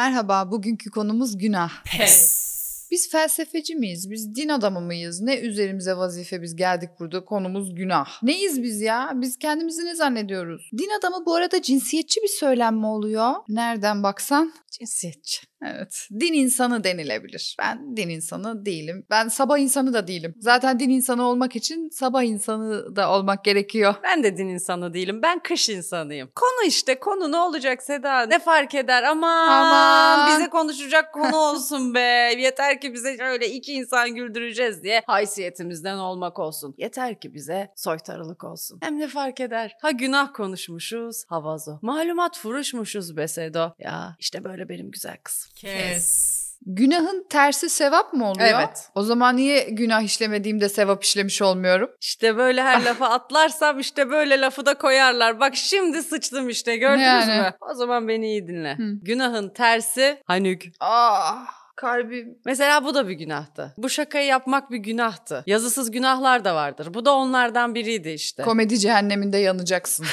Merhaba, bugünkü konumuz günah. Pes. Biz felsefeci miyiz? Biz din adamı mıyız? Ne üzerimize vazife biz geldik burada konumuz günah. Neyiz biz ya? Biz kendimizi ne zannediyoruz? Din adamı bu arada cinsiyetçi bir söylem mi oluyor? Nereden baksan cinsiyetçi. Evet. Din insanı denilebilir. Ben din insanı değilim. Ben sabah insanı da değilim. Zaten din insanı olmak için sabah insanı da olmak gerekiyor. Ben de din insanı değilim. Ben kış insanıyım. Konu işte konu ne olacak Seda? Ne fark eder? Aman, Aman. bize konuşacak konu olsun be. Yeter ki bize şöyle iki insan güldüreceğiz diye haysiyetimizden olmak olsun. Yeter ki bize soytarılık olsun. Hem ne fark eder? Ha günah konuşmuşuz. Havazo. Malumat furuşmuşuz be Sedo. Ya işte böyle benim güzel kızım. Kes. Günahın tersi sevap mı oluyor? Evet. O zaman niye günah işlemediğimde sevap işlemiş olmuyorum? İşte böyle her lafa atlarsam işte böyle lafı da koyarlar. Bak şimdi sıçtım işte gördünüz Yani. mü? O zaman beni iyi dinle. Hı. Günahın tersi hanük. Ah kalbim. Mesela bu da bir günahtı. Bu şakayı yapmak bir günahtı. Yazısız günahlar da vardır. Bu da onlardan biriydi işte. Komedi cehenneminde yanacaksın.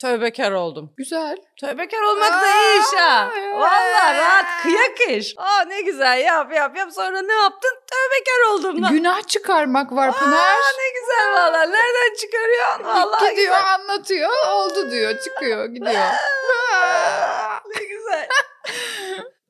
Tövbekar oldum. Güzel. Tövbekar olmak da iyi iş ha. Aa, Valla evet. rahat kıyak iş. Aa ne güzel yap yap yap sonra ne yaptın? Tövbekar oldum lan. Günah çıkarmak var Pınar. Aa ne güzel valla. Nereden çıkarıyorsun? Valla Gidiyor anlatıyor oldu diyor çıkıyor gidiyor. ne güzel.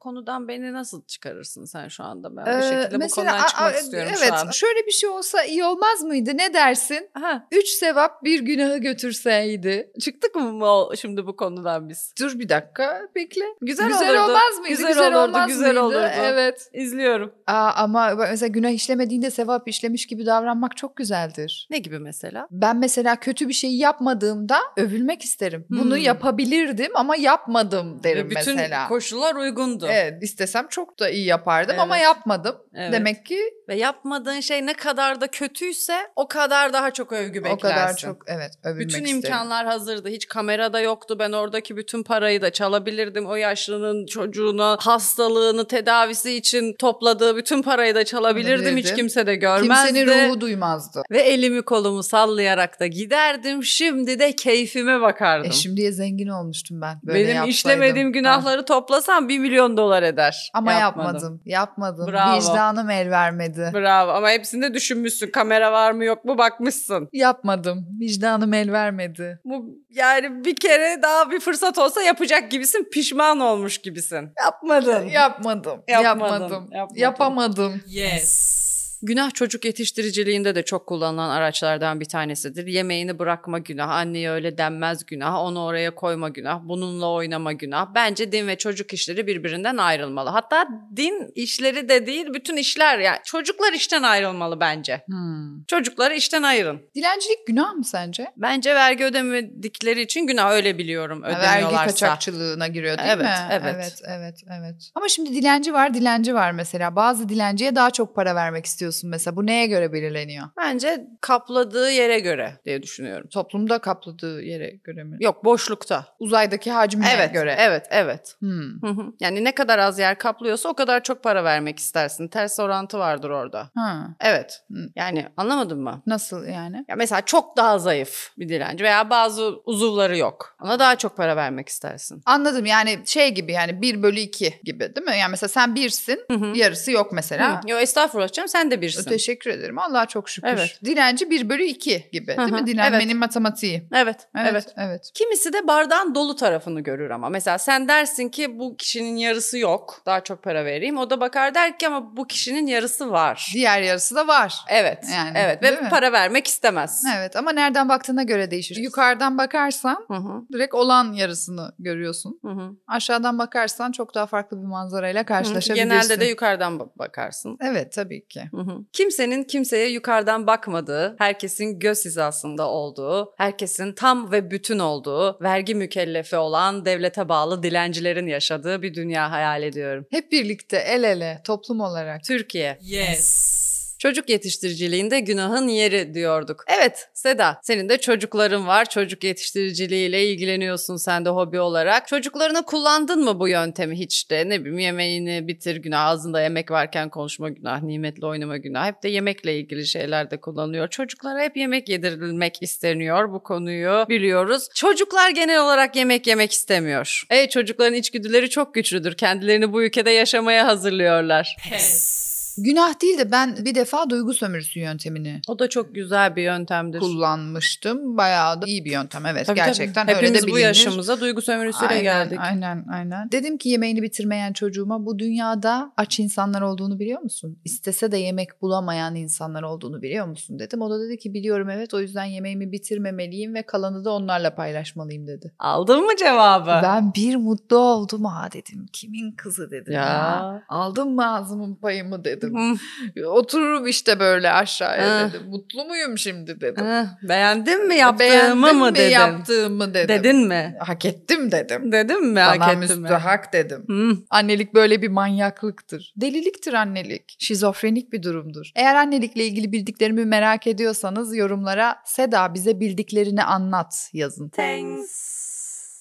Konudan beni nasıl çıkarırsın sen şu anda? Ben Ee, bir şekilde bu mesela- konudan çıkmak Aa, istiyorum evet, şu an. Şöyle bir şey olsa iyi olmaz mıydı ne dersin? Ha, Üç sevap bir günahı götürseydi. çıktık mı o- şimdi bu konudan biz? Dur bir dakika bekle. Güzel, olurdu. olmaz mıydı? Güzel olurdu, olmaz güzel mıydı? olurdu. Evet. İzliyorum. Aa, ama mesela günah işlemediğinde sevap işlemiş gibi davranmak çok güzeldir. Ne gibi mesela? Ben mesela kötü bir şey yapmadığımda övülmek isterim. Bunu Hmm. yapabilirdim ama yapmadım derim Ve bütün mesela. koşullar uygundu. Evet, istesem çok da iyi yapardım ama Evet. yapmadım. Evet. Demek ki Ve yapmadığın şey ne kadar da kötüyse o kadar daha çok övgü beklersin. o kadar çok evet övülmek Bütün isterim. imkanlar hazırdı. Hiç kamerada yoktu. Ben oradaki bütün parayı da çalabilirdim. O yaşlının çocuğuna hastalığını tedavisi için topladığı bütün parayı da çalabilirdim. Hiç Çalabilirdin. kimse de görmezdi. Kimsenin ruhu duymazdı. E, Ve elimi kolumu sallayarak da giderdim. Şimdi de keyfime bakardım. E şimdiye zengin olmuştum ben. Böyle Benim yapsaydım. işlemediğim Ha. günahları toplasam 1 milyon dolar eder. Ama Yapmadım. yapmadım. Yapmadım. Bravo. Vicdanım el vermedi. Bravo ama hepsini de düşünmüşsün. Kamera var mı yok mu bakmışsın. Yapmadım. Vicdanım el vermedi. Bu yani bir kere daha bir fırsat olsa yapacak gibisin. Pişman olmuş gibisin. Yapmadın. Yapmadım. Yapmadın, Yapmadım. yapmadın. Yapamadım. Yes. Günah çocuk yetiştiriciliğinde de çok kullanılan araçlardan bir tanesidir. Yemeğini bırakma günah, anneye öyle denmez günah, onu oraya koyma günah, bununla oynama günah. Bence din ve çocuk işleri birbirinden ayrılmalı. Hatta din işleri de değil, bütün işler yani çocuklar işten ayrılmalı bence. Hmm. Çocukları işten ayırın. Dilencilik günah mı sence? Bence vergi ödemedikleri için günah öyle biliyorum Vergi ödemiyorlarsa. kaçakçılığına giriyor değil Evet, mi? evet. evet, evet, evet. Ama şimdi dilenci var, dilenci var mesela. Bazı dilenciye daha çok para vermek istiyorsun mesela. Bu neye göre belirleniyor? Bence kapladığı yere göre diye düşünüyorum. Toplumda kapladığı yere göre mi? Yok boşlukta. Uzaydaki hacmine Evet, göre. evet, evet. Hmm. Hı hı. Yani ne kadar az yer kaplıyorsa o kadar çok para vermek istersin. Ters orantı vardır orada. Ha. Evet. Hı. Yani anlamadın mı? Nasıl yani? Ya mesela çok daha zayıf bir dilenci veya bazı uzuvları yok. Ona daha çok para vermek istersin. Anladım yani şey gibi yani 1 bölü 2 gibi değil mi? Yani mesela sen birsin Hı hı. yarısı yok mesela. E, Hı. Yo estağfurullah canım sen de birsin. Teşekkür ederim Allah'a çok şükür. Evet. Dilenci 1 bölü 2 gibi Hı değil hı, mi? Dilenmenin matematiği. Evet, Evet, evet. evet. evet. Kimisi de bardağın dolu tarafını görür ama. Mesela sen dersin ki bu kişinin yarısı yok. Daha çok para vereyim. O da bakar der ki ama bu kişinin yarısı var. Diğer yarısı da var. Evet. Yani, evet değil ve mi? para vermek istemez. Evet ama nereden baktığına göre değişir. Yukarıdan bakarsan Hı hı. direkt olan yarısını görüyorsun. Hı hı. Aşağıdan bakarsan çok daha farklı bir manzarayla karşılaşabilirsin. Genelde de yukarıdan bak- bakarsın. Evet tabii ki. Hı hı. Kimsenin kimseye yukarıdan bakmadığı, herkesin göz hizasında olduğu, herkesin tam ve bütün olduğu, vergi mükellefi olan devlete bağlı dilencilerin yaşadığı bir dünya hayal ediyorum. Hep birlikte el ele toplum olarak Türkiye. Yes. Çocuk yetiştiriciliğinde günahın yeri diyorduk. Evet Seda senin de çocukların var. Çocuk yetiştiriciliğiyle ilgileniyorsun sen de hobi olarak. Çocuklarını kullandın mı bu yöntemi hiç de? Ne bileyim yemeğini bitir günah. Ağzında yemek varken konuşma günah. Nimetle oynama günah. Hep de yemekle ilgili şeylerde kullanılıyor. Çocuklara hep yemek yedirilmek isteniyor. Bu konuyu biliyoruz. Çocuklar genel olarak yemek yemek istemiyor. E çocukların içgüdüleri çok güçlüdür. Kendilerini bu ülkede yaşamaya hazırlıyorlar. Pes. Günah değil de ben bir defa duygu sömürüsü yöntemini O da çok güzel bir yöntemdir. kullanmıştım. Bayağı da iyi bir yöntem evet Tabii, tabii. gerçekten öyle de Hepimiz bilinir. bu yaşımıza duygu sömürüsüyle Aynen, geldik. Aynen aynen. Dedim ki yemeğini bitirmeyen çocuğuma bu dünyada aç insanlar olduğunu biliyor musun? İstese de yemek bulamayan insanlar olduğunu biliyor musun dedim. O da dedi ki biliyorum evet o yüzden yemeğimi bitirmemeliyim ve kalanı da onlarla paylaşmalıyım dedi. Aldın mı cevabı? Ben bir mutlu oldum ha dedim. Kimin kızı dedim ya. Ya. Aldım mı ağzımın payımı dedim. Hı, Otururum işte böyle aşağıya Ah. dedim. Mutlu muyum şimdi dedim. hı. Beğendin mi yaptığımı Beğendin mı mi dedin? yaptığımı dedim. Dedin mi? Hak ettim dedim. Dedin mi? Bana Hak ettim mi? müstahak dedim. Hı. Annelik böyle bir manyaklıktır. Deliliktir annelik. Şizofrenik bir durumdur. Eğer annelikle ilgili bildiklerimi merak ediyorsanız yorumlara Seda bize bildiklerini anlat yazın. Thanks.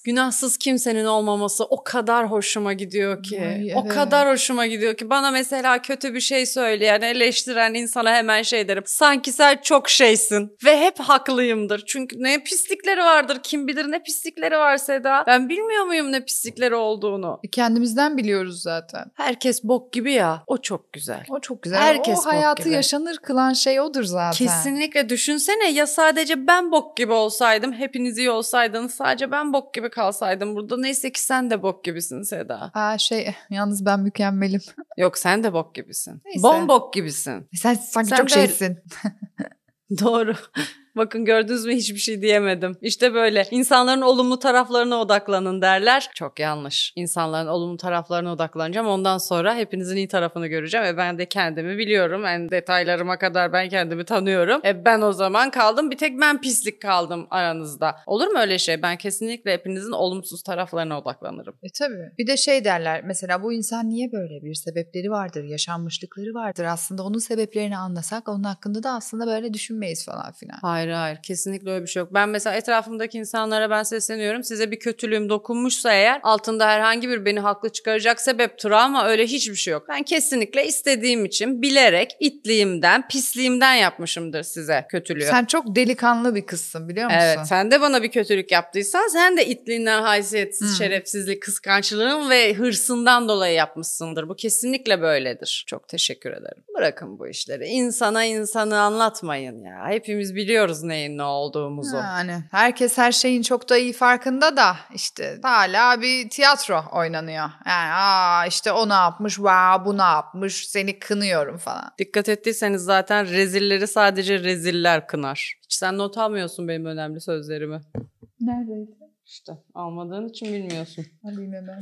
Günahsız kimsenin olmaması o kadar hoşuma gidiyor ki. Ay, O evet. kadar hoşuma gidiyor ki. Bana mesela kötü bir şey söyleyen, eleştiren insana hemen şey derim. Sanki sen çok şeysin ve hep haklıyımdır. Çünkü ne pislikleri vardır kim bilir ne pislikleri var Seda. Ben bilmiyor muyum ne pislikleri olduğunu? E, Kendimizden biliyoruz zaten. Herkes bok gibi ya. O çok güzel. O çok güzel. Herkes o bok hayatı gibi. yaşanır kılan şey odur zaten. Kesinlikle düşünsene ya sadece ben bok gibi olsaydım, hepiniz iyi olsaydınız, sadece ben bok gibi kalsaydım burada. Neyse ki sen de bok gibisin Seda. Ha şey yalnız ben mükemmelim. Yok sen de bok gibisin. Neyse. Bombok gibisin. E, Sen sanki Sen çok de- şeysin. Doğru. Bakın gördünüz mü hiçbir şey diyemedim. İşte böyle insanların olumlu taraflarına odaklanın derler. Çok yanlış. İnsanların olumlu taraflarına odaklanacağım. Ondan sonra hepinizin iyi tarafını göreceğim. E ben de kendimi biliyorum. Ben detaylarıma kadar ben kendimi tanıyorum. E ben o zaman kaldım. Bir tek ben pislik kaldım aranızda. Olur mu öyle şey? Ben kesinlikle hepinizin olumsuz taraflarına odaklanırım. E tabii. Bir de şey derler mesela bu insan niye böyle bir sebepleri vardır, yaşanmışlıkları vardır. Aslında onun sebeplerini anlasak onun hakkında da aslında böyle düşünmeyiz falan filan. Hayır hayır kesinlikle öyle bir şey yok. Ben mesela etrafımdaki insanlara ben sesleniyorum. Size bir kötülüğüm dokunmuşsa eğer altında herhangi bir beni haklı çıkaracak sebep travma öyle hiçbir şey yok. Ben kesinlikle istediğim için bilerek itliğimden pisliğimden yapmışımdır size kötülüğü. Sen çok delikanlı bir kızsın biliyor musun? Evet sen de bana bir kötülük yaptıysan sen de itliğinden haysiyetsiz, Hmm. şerefsizlik, kıskançlığın ve hırsından dolayı yapmışsındır. Bu kesinlikle böyledir. Çok teşekkür ederim. Bırakın bu işleri. İnsana insanı anlatmayın ya. Hepimiz biliyoruz neyin ne olduğumuzu. Yani herkes her şeyin çok da iyi farkında da işte hala bir tiyatro oynanıyor. Yani aa işte o ne yapmış, vaa bu ne yapmış, seni kınıyorum falan. Dikkat ettiyseniz zaten rezilleri sadece reziller kınar. Hiç sen not almıyorsun benim önemli sözlerimi. Neredeydi? İşte almadığın için bilmiyorsun. Alayım hemen.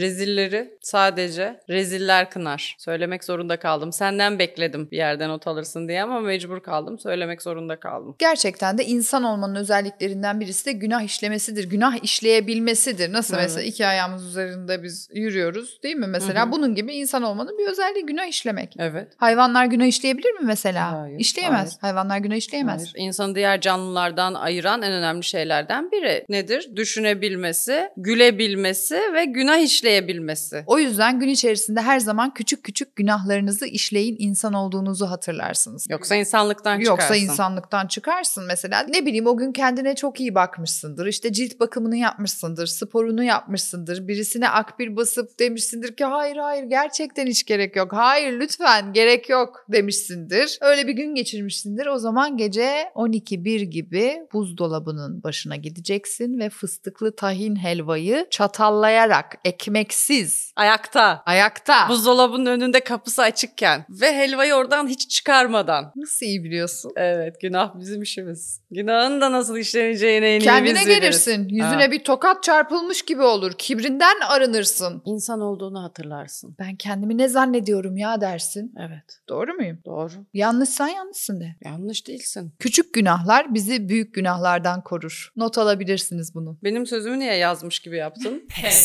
Rezilleri sadece reziller kınar. Söylemek zorunda kaldım. Senden bekledim bir yerden not alırsın diye ama mecbur kaldım. Söylemek zorunda kaldım. Gerçekten de insan olmanın özelliklerinden birisi de günah işlemesidir. Günah işleyebilmesidir. Nasıl Evet. mesela iki ayağımız üzerinde biz yürüyoruz değil mi mesela? Hı hı. Bunun gibi insan olmanın bir özelliği günah işlemek. Evet. Hayvanlar günah işleyebilir mi mesela? Hayır, İşleyemez. hayır. Hayvanlar günah işleyemez. Hayır. İnsanı diğer canlılardan ayıran en önemli şeylerden biri nedir? Düşünebilmesi, gülebilmesi ve günah işleyebilmesi. O yüzden gün içerisinde her zaman küçük küçük günahlarınızı işleyin insan olduğunuzu hatırlarsınız. Yoksa insanlıktan Yoksa çıkarsın. insanlıktan çıkarsın mesela. Ne bileyim o gün kendine çok iyi bakmışsındır. İşte cilt bakımını yapmışsındır, sporunu yapmışsındır. Birisine akbil basıp demişsindir ki hayır hayır gerçekten hiç gerek yok. Hayır lütfen gerek yok demişsindir. Öyle bir gün geçirmişsindir. O zaman gece 12-1 gibi buzdolabının başına gideceksin ve fıstıklı tahin helvayı çatallayarak ekmeksiz Ayakta. ayakta. Buzdolabının önünde kapısı açıkken ve helvayı oradan hiç çıkarmadan. Nasıl iyi biliyorsun? Evet günah bizim işimiz. Günahın da nasıl işleneceğine en iyi Kendine biz biliriz. gelirsin. Yüzüne Ha. bir tokat çarpılmış gibi olur. Kibrinden arınırsın. İnsan olduğunu hatırlarsın. Ben kendimi ne zannediyorum ya dersin. Evet Doğru muyum? doğru. Yanlışsan yanlışsın de. Yanlış değilsin. Küçük günahlar bizi büyük günahlardan korur. Not alabilirsiniz bunu. Benim sözümü niye yazmış gibi yaptın? Pes.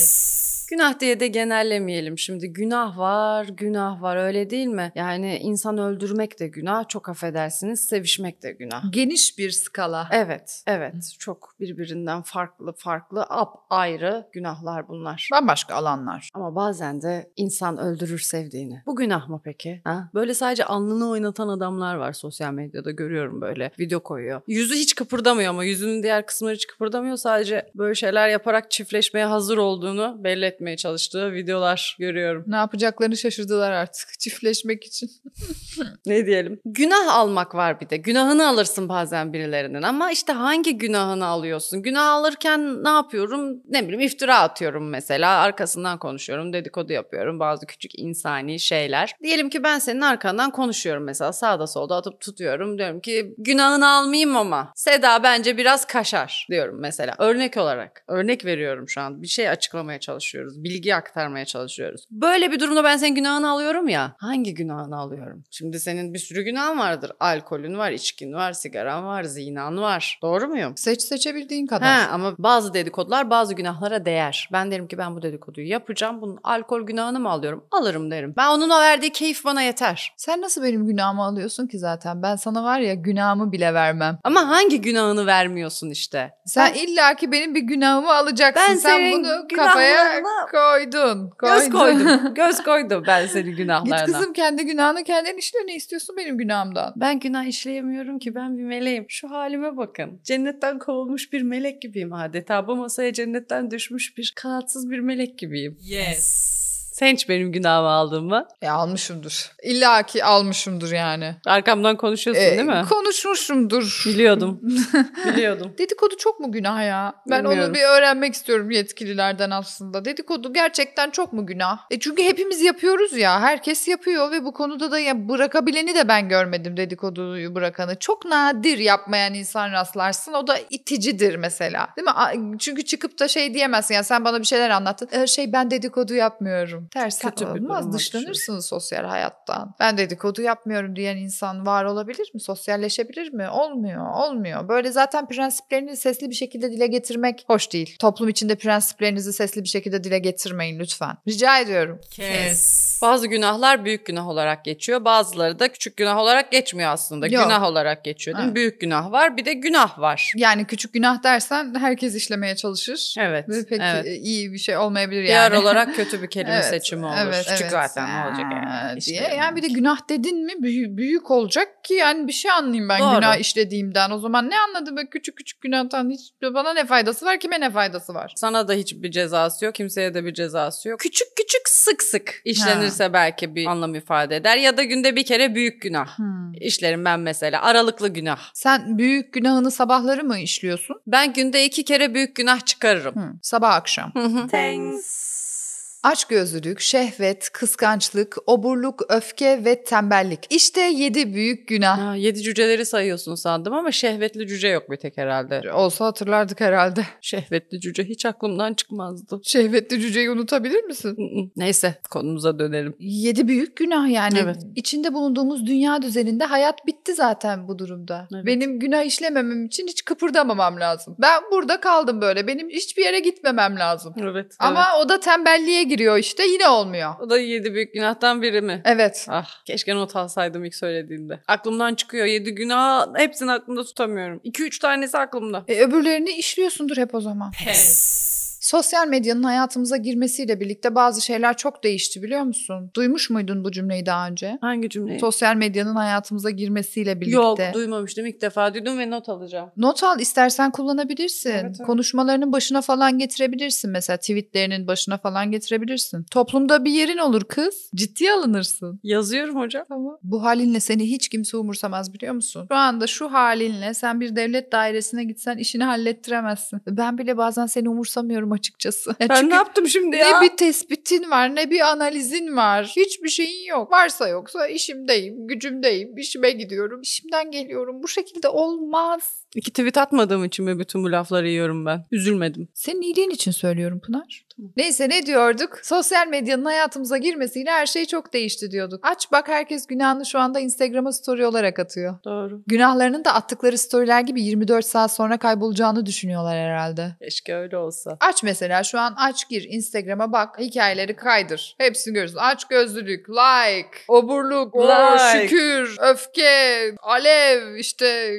Günah diye de genellemeyelim şimdi. Günah var, günah var öyle değil mi? Yani insan öldürmek de günah, çok affedersiniz sevişmek de günah. Geniş bir skala. Evet, evet. Çok birbirinden farklı farklı ap ayrı günahlar bunlar. Bambaşka alanlar. Ama bazen de insan öldürür sevdiğini. Bu günah mı peki? Ha? Böyle sadece alnını oynatan adamlar var sosyal medyada görüyorum böyle video koyuyor. Yüzü hiç kıpırdamıyor ama yüzünün diğer kısımları hiç kıpırdamıyor. Sadece böyle şeyler yaparak çiftleşmeye hazır olduğunu belli etmeye çalıştığı videolar görüyorum. Ne yapacaklarını şaşırdılar artık çiftleşmek için. Ne diyelim? Günah almak var bir de. Günahını alırsın bazen birilerinin ama işte hangi günahını alıyorsun? Günah alırken ne yapıyorum? Ne bileyim iftira atıyorum mesela. Arkasından konuşuyorum, dedikodu yapıyorum. Bazı küçük insani şeyler. Diyelim ki ben senin arkandan konuşuyorum mesela. Sağda solda atıp tutuyorum. Diyorum ki günahını almayayım ama. Seda bence biraz kaşar diyorum mesela. Örnek olarak. Örnek veriyorum şu an. Bir şey açıklamaya çalışıyoruz. Bilgi aktarmaya çalışıyoruz. Böyle bir durumda ben senin günahını alıyorum ya. Hangi günahını alıyorum? Şimdi senin bir sürü günahın vardır. Alkolün var, içkin var, sigaran var, zinan var. Doğru muyum? Seç seçebildiğin kadar. Ha, ama bazı dedikodular bazı günahlara değer. Ben derim ki ben bu dedikoduyu yapacağım. Bunun alkol günahını mı alıyorum? Alırım derim. Ben onun o verdiği keyif bana yeter. Sen nasıl benim günahımı alıyorsun ki zaten? Ben sana var ya günahımı bile vermem. Ama hangi günahını vermiyorsun işte? Sen illaki benim bir günahımı alacaksın. Ben Sen senin bunu kafaya günahlarına koydun. Göz koydun. koydum. Göz koydum ben senin günahlarına. Git kızım kendi günahını kendin işle ne istiyorsun benim günahımdan? Ben günah işleyemiyorum ki ben bir meleğim. Şu halime bakın. Cennetten kovulmuş bir melek gibiyim adeta. Bu masaya cennetten düşmüş bir kanatsız bir melek gibiyim. Yes. Sen hiç benim günahımı aldın mı? E almışımdır. İlla ki almışımdır yani. Arkamdan konuşuyorsun E, değil mi? Konuşmuşumdur. Biliyordum. Biliyordum. Dedikodu çok mu günah ya? Ben Bilmiyorum. onu bir öğrenmek istiyorum yetkililerden aslında. Dedikodu gerçekten çok mu günah? E çünkü hepimiz yapıyoruz ya. Herkes yapıyor ve bu konuda da ya bırakabileni de ben görmedim dedikoduyu bırakanı. Çok nadir yapmayan insan rastlarsın. O da iticidir mesela. Değil mi? A- Çünkü çıkıp da şey diyemezsin. Ya sen bana bir şeyler anlattın. E, şey ben dedikodu yapmıyorum. Ters Kötü bir olmaz. duruma Dışlanırsınız sosyal hayattan. Ben dedikodu yapmıyorum diyen insan var olabilir mi? Sosyalleşebilir mi? Olmuyor. Olmuyor. Böyle zaten prensiplerini sesli bir şekilde dile getirmek hoş değil. Toplum içinde prensiplerinizi sesli bir şekilde dile getirmeyin lütfen. Rica ediyorum. Kes. Bazı günahlar büyük günah olarak geçiyor. Bazıları da küçük günah olarak geçmiyor aslında. Yok. Günah olarak geçiyor değil mi? Ha. Büyük günah var bir de günah var. Yani küçük günah dersen herkes işlemeye çalışır. Evet. Ve pek evet. e, iyi bir şey olmayabilir yani. Diğer olarak kötü bir kelime Evet, seçimi olur. evet, Küçük evet. zaten ne olacak Ha, yani. İşte diye. Yani bir de günah dedin mi büyük, büyük olacak ki yani bir şey anlayayım ben Doğru. günah işlediğimden. O zaman ne anladım ben küçük küçük günahtan hiç bana ne faydası var kime ne faydası var? Sana da hiçbir cezası yok, kimseye de bir cezası yok. Küçük küçük sık sık işlenirse belki bir anlam ifade eder ya da günde bir kere büyük günah. İşlerim ben mesela aralıklı günah. Sen büyük günahını sabahları mı işliyorsun? Ben günde iki kere büyük günah çıkarırım. Hı, Sabah akşam. Hı hı. Thanks. Açgözlülük, şehvet, kıskançlık, oburluk, öfke ve tembellik. İşte yedi büyük günah. Ha, yedi cüceleri sayıyorsun sandım ama şehvetli cüce yok bir tek herhalde. Olsa hatırlardık herhalde. Şehvetli cüce hiç aklımdan çıkmazdı. Şehvetli cüceyi unutabilir misin? Hı hı. Neyse konumuza dönelim. Yedi büyük günah yani. Evet. İçinde bulunduğumuz dünya düzeninde hayat bitti zaten bu durumda. Evet. Benim günah işlememem için hiç kıpırdamamam lazım. Ben burada kaldım böyle. Benim hiçbir yere gitmemem lazım. Evet. Ama o da tembelliğe giriyor işte. Yine olmuyor. o da yedi büyük günahtan biri mi? Evet. Ah keşke not alsaydım ilk söylediğinde. Aklımdan çıkıyor yedi günah hepsini aklımda tutamıyorum. 2-3 tanesi aklımda. E, öbürlerini işliyorsundur hep o zaman. Pes. Sosyal medyanın hayatımıza girmesiyle birlikte bazı şeyler çok değişti biliyor musun? Duymuş muydun bu cümleyi daha önce? Hangi cümleyi? Sosyal medyanın hayatımıza girmesiyle birlikte. Yok duymamıştım ilk defa duydum ve not alacağım. Not al istersen kullanabilirsin. Evet, evet. Konuşmalarının başına falan getirebilirsin mesela tweetlerinin başına falan getirebilirsin. Toplumda bir yerin olur kız. Ciddiye alınırsın. Yazıyorum hocam. Ama bu halinle seni hiç kimse umursamaz biliyor musun? Şu anda şu halinle sen bir devlet dairesine gitsen işini hallettiremezsin. Ben bile bazen seni umursamıyorum açıkçası. Ya Ben çünkü E, ne yaptım şimdi ne ya? bir tespitin var ne bir analizin var. Hiçbir şeyin yok. Varsa yoksa işimdeyim, gücümdeyim, işime gidiyorum, işimden geliyorum. Bu şekilde olmaz. İki tweet atmadığım için mi bütün bu lafları yiyorum ben? Üzülmedim. Senin iyiliğin için söylüyorum Pınar. mı? Neyse ne diyorduk? Sosyal medyanın hayatımıza girmesiyle her şey çok değişti diyorduk. Aç bak herkes günahını şu anda Instagram'a story olarak atıyor. Doğru. Günahlarının da attıkları storyler gibi 24 saat sonra kaybolacağını düşünüyorlar herhalde. Keşke öyle olsa. Aç mesela şu an aç gir Instagram'a bak hikayeleri kaydır. Hepsini görürsün. Aç gözlülük, like, oburluk, o, Like. şükür, öfke, alev, işte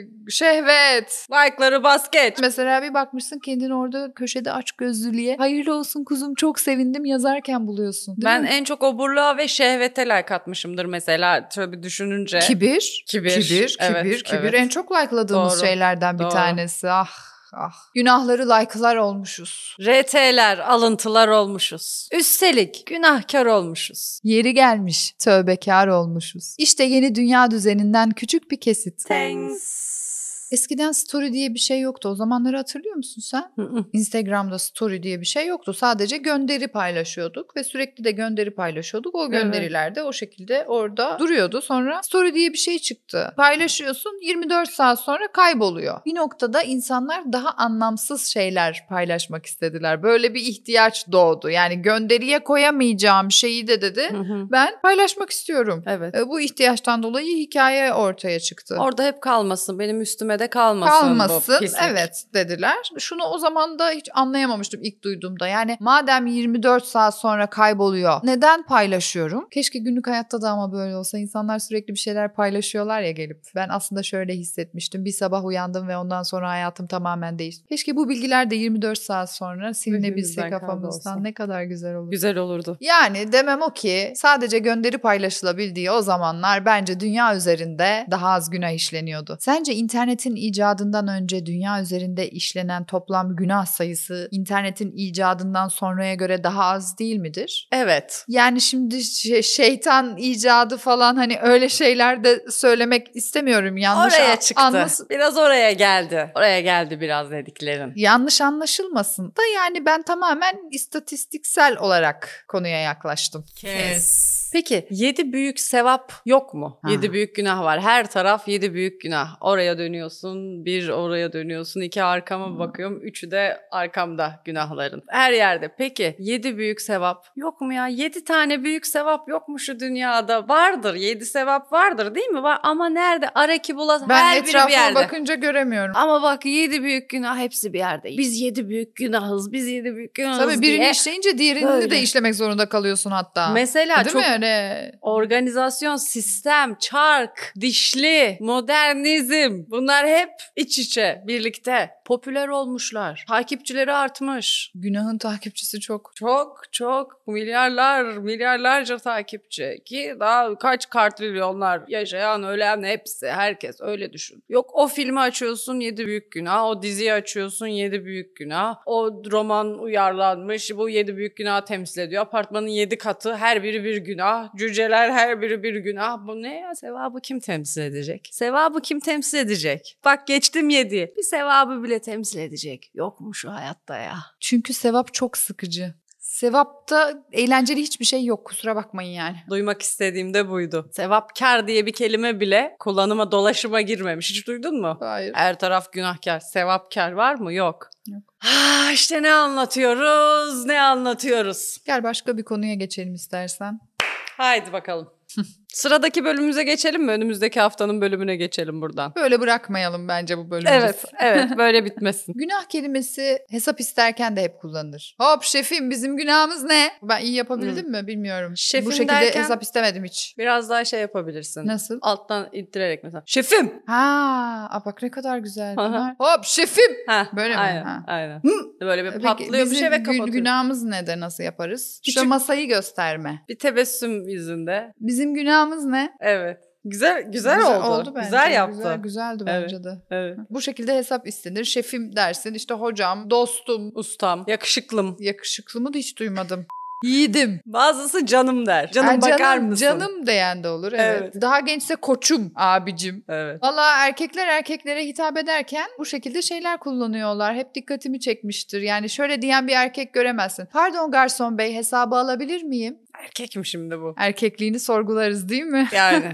şehvet. Like'ları bas geç. Mesela bir bakmışsın kendini orada köşede aç gözlülüğe. Hayırlı olsun kuzum çok sevindim yazarken buluyorsun. değil ben mi? en çok oburluğa ve şehvete like atmışımdır mesela. Tabii düşününce. kibir, Kibir. kibir, Evet, kibir, kibir evet. en çok like'ladığımız Doğru, şeylerden bir doğru. tanesi. Ah, ah. Günahları like'lar olmuşuz. RT'ler, alıntılar olmuşuz. Üstelik günahkar olmuşuz. Yeri gelmiş, tövbekar olmuşuz. İşte yeni dünya düzeninden küçük bir kesit. Thanks. Eskiden story diye bir şey yoktu. O zamanları hatırlıyor musun sen? Hı hı. Instagram'da story diye bir şey yoktu. Sadece gönderi paylaşıyorduk ve sürekli de gönderi paylaşıyorduk. O gönderiler de o şekilde orada duruyordu. Sonra story diye bir şey çıktı. Paylaşıyorsun 24 saat sonra kayboluyor. Bir noktada insanlar daha anlamsız şeyler paylaşmak istediler. Böyle bir ihtiyaç doğdu. Yani gönderiye koyamayacağım şeyi de dedi. Hı hı. Ben paylaşmak istiyorum. evet. E, Bu ihtiyaçtan dolayı hikaye ortaya çıktı. Orada hep kalmasın. Benim üstüme de kalmasın. Kalmasın. bu pislik. Evet dediler. Şunu o zaman da hiç anlayamamıştım ilk duyduğumda. Yani madem 24 saat sonra kayboluyor neden paylaşıyorum? Keşke günlük hayatta da ama böyle olsa insanlar sürekli bir şeyler paylaşıyorlar ya gelip. Ben aslında şöyle hissetmiştim. Bir sabah uyandım ve ondan sonra hayatım tamamen değişti. Keşke bu bilgiler de 24 saat sonra silinebilse Zihnimizden kafamızdan kaybolsa. ne kadar güzel olur. Güzel olurdu. Yani demem o ki sadece gönderi paylaşılabildiği o zamanlar bence dünya üzerinde daha az günah işleniyordu. Sence internetin icadından önce dünya üzerinde işlenen toplam günah sayısı internetin icadından sonraya göre daha az değil midir? Evet. Yani şimdi şey- şeytan icadı falan hani öyle şeyler de söylemek istemiyorum yanlış oraya an- çıktı. anlas- Biraz oraya geldi. Oraya geldi biraz dediklerin. Yanlış anlaşılmasın da yani ben tamamen istatistiksel olarak konuya yaklaştım. Kiss. Peki yedi büyük sevap yok mu? Ha. Yedi büyük günah var. Her taraf yedi büyük günah. Oraya dönüyorsun, bir oraya dönüyorsun, iki arkama Hı. bakıyorum, üçü de arkamda günahların. Her yerde. Peki yedi büyük sevap yok mu ya? Yedi tane büyük sevap yok mu şu dünyada? Vardır. Yedi sevap vardır değil mi? Var. Ama nerede? Araki bulat Ben her biri bir etrafıma yerde. bakınca göremiyorum. Ama bak yedi büyük günah hepsi bir yerde. Biz yedi büyük günahız, biz yedi büyük günahız Tabii birini diye. işleyince diğerini böyle. de işlemek zorunda kalıyorsun hatta. Mesela Değil çok mi Hani öyle? Organizasyon, sistem, çark, dişli, modernizm bunlar hep iç içe birlikte popüler olmuşlar. Takipçileri artmış. Günahın takipçisi çok. Çok çok milyarlar milyarlarca takipçi ki daha kaç kartrilyonlar yaşayan ölen hepsi herkes öyle düşün. Yok o filmi açıyorsun yedi büyük günah o diziyi açıyorsun yedi büyük günah o roman uyarlanmış bu yedi büyük günah temsil ediyor. Apartmanın yedi katı her biri bir günah cüceler her biri bir günah bu ne ya sevabı kim temsil edecek? Sevabı kim temsil edecek? Bak geçtim yedi bir sevabı bile temsil edecek yok mu şu hayatta ya? Çünkü sevap çok sıkıcı. Sevapta eğlenceli hiçbir şey yok kusura bakmayın yani. Duymak istediğim de buydu. Sevapkar diye bir kelime bile kullanıma dolaşıma girmemiş. Hiç duydun mu? Hayır. Her taraf günahkar, sevapkar var mı? Yok. Yok. Ah, işte ne anlatıyoruz, ne anlatıyoruz. Gel başka bir konuya geçelim istersen. Haydi bakalım. Sıradaki bölümümüze geçelim mi? Önümüzdeki haftanın bölümüne geçelim buradan. Böyle bırakmayalım bence bu bölümü. Evet, evet böyle bitmesin. Günah kelimesi hesap isterken de hep kullanılır. Hop şefim bizim günahımız ne? Ben iyi yapabildim mi bilmiyorum. Şefim Bu şekilde derken- hesap istemedim hiç. Biraz daha şey yapabilirsin. Nasıl? Alttan ittirerek mesela. Şefim! Ha, aa bak ne kadar güzel. Aha. Pınar. Hop şefim. Ha, Böyle mi? aynen, Ha. Aynen. Hı. E Böyle bir Peki, patlıyor bir bizim şey ve gü- kapatıyor. Günahımız ne de nasıl yaparız? Şu Küçük- masayı gösterme. Bir tebessüm yüzünde. Bizim günahımız ne? Evet. Güzel güzel, oldu. bence. Güzel yaptı. Güzel, güzeldi Evet. bence de. Evet. Bu şekilde hesap istenir. Şefim dersin, işte hocam, dostum, Ustam, yakışıklım. yakışıklı mı da hiç duymadım. Yiğidim. Bazısı canım der. Canım Ha, bakar canım, mısın? Canım diyen de olur evet. Evet. Daha gençse koçum, abicim. Evet. Valla erkekler erkeklere hitap ederken bu şekilde şeyler kullanıyorlar. Hep dikkatimi çekmiştir. Yani şöyle diyen bir erkek göremezsin. Pardon garson bey hesabı alabilir miyim? Erkek mi şimdi bu? Erkekliğini sorgularız değil mi? Yani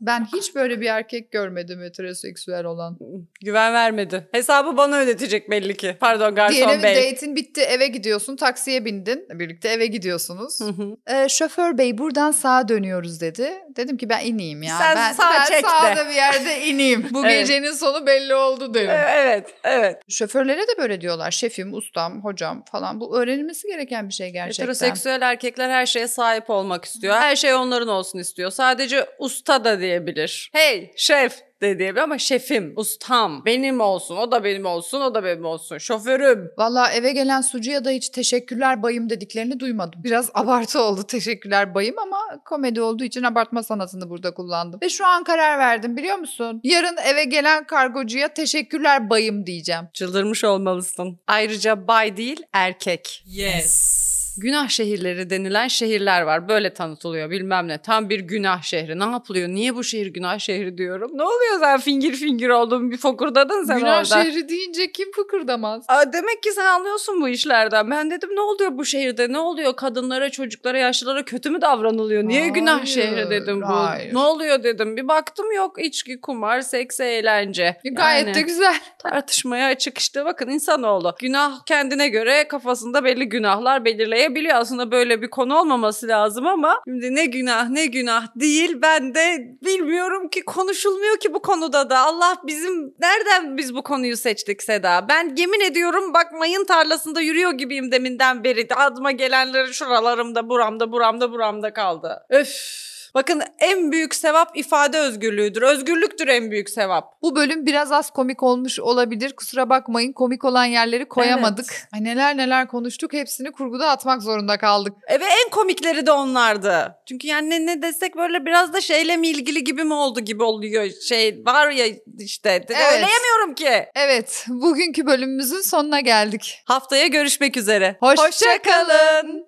Ben hiç böyle bir erkek görmedim heteroseksüel olan. güven vermedi. Hesabı bana ödetecek belli ki. Pardon garson Diyelim bey. date'in bitti eve gidiyorsun taksiye bindin birlikte eve gidiyorsunuz. Hı hı. Ee, şoför bey buradan sağa dönüyoruz dedi. Dedim ki ben ineyim ya. Sen ben, sağ ben çek de." sağda bir yerde ineyim. Bu Evet. gecenin sonu belli oldu dedim. evet, evet. Şoförlere de böyle diyorlar. Şefim, ustam, hocam falan. Bu öğrenilmesi gereken bir şey gerçekten. Heteroseksüel erkekler her şeye sahip olmak istiyor. Her şey onların olsun istiyor. Sadece usta da diyebilir. Hey şef de diyebilir ama şefim, ustam, benim olsun, o da benim olsun, o da benim olsun, şoförüm. Valla eve gelen sucuya da hiç teşekkürler bayım dediklerini duymadım. Biraz abartı oldu teşekkürler bayım ama komedi olduğu için abartma sanatını burada kullandım. Ve şu an karar verdim biliyor musun? Yarın eve gelen kargocuya teşekkürler bayım diyeceğim. Çıldırmış olmalısın. Ayrıca bay değil, erkek. Yes. Günah şehirleri denilen şehirler var. Böyle tanıtılıyor bilmem ne. Tam bir günah şehri. Ne yapılıyor? Niye bu şehir günah şehri diyorum. Ne oluyor sen fingir fingir oldun bir fokurdadın sen Günah orada. şehri deyince kim fıkırdamaz? Aa, demek ki sen anlıyorsun bu işlerden. Ben dedim ne oluyor bu şehirde? Ne oluyor? Kadınlara, çocuklara, yaşlılara kötü mü davranılıyor? Niye günah Hayır, şehri dedim bu? hayır. Ne oluyor dedim. Bir baktım yok içki, kumar, seks, eğlence. Gayet Yani de güzel. tartışmaya açık işte bakın insanoğlu. Günah kendine göre kafasında belli günahlar belirleyebiliyor. Aslında böyle bir konu olmaması lazım ama şimdi ne günah ne günah değil ben de bilmiyorum ki konuşulmuyor ki bu konuda da. Allah bizim nereden biz bu konuyu seçtik Seda? Ben yemin ediyorum bak mayın tarlasında yürüyor gibiyim deminden beri. Adıma gelenleri şuralarımda buramda buramda buramda kaldı. Öf. Bakın en büyük sevap ifade özgürlüğüdür. Özgürlüktür en büyük sevap. Bu bölüm biraz az komik olmuş olabilir. Kusura bakmayın komik olan yerleri koyamadık. Ay neler neler konuştuk hepsini kurguda atmak zorunda kaldık. E ve en komikleri de onlardı. Çünkü yani ne, ne desek böyle biraz da şeyle mi ilgili gibi mi oldu gibi oluyor. Şey var ya işte. Söyleyemiyorum ki. Evet bugünkü bölümümüzün sonuna geldik. Haftaya görüşmek üzere. Hoşça Hoşça kalın.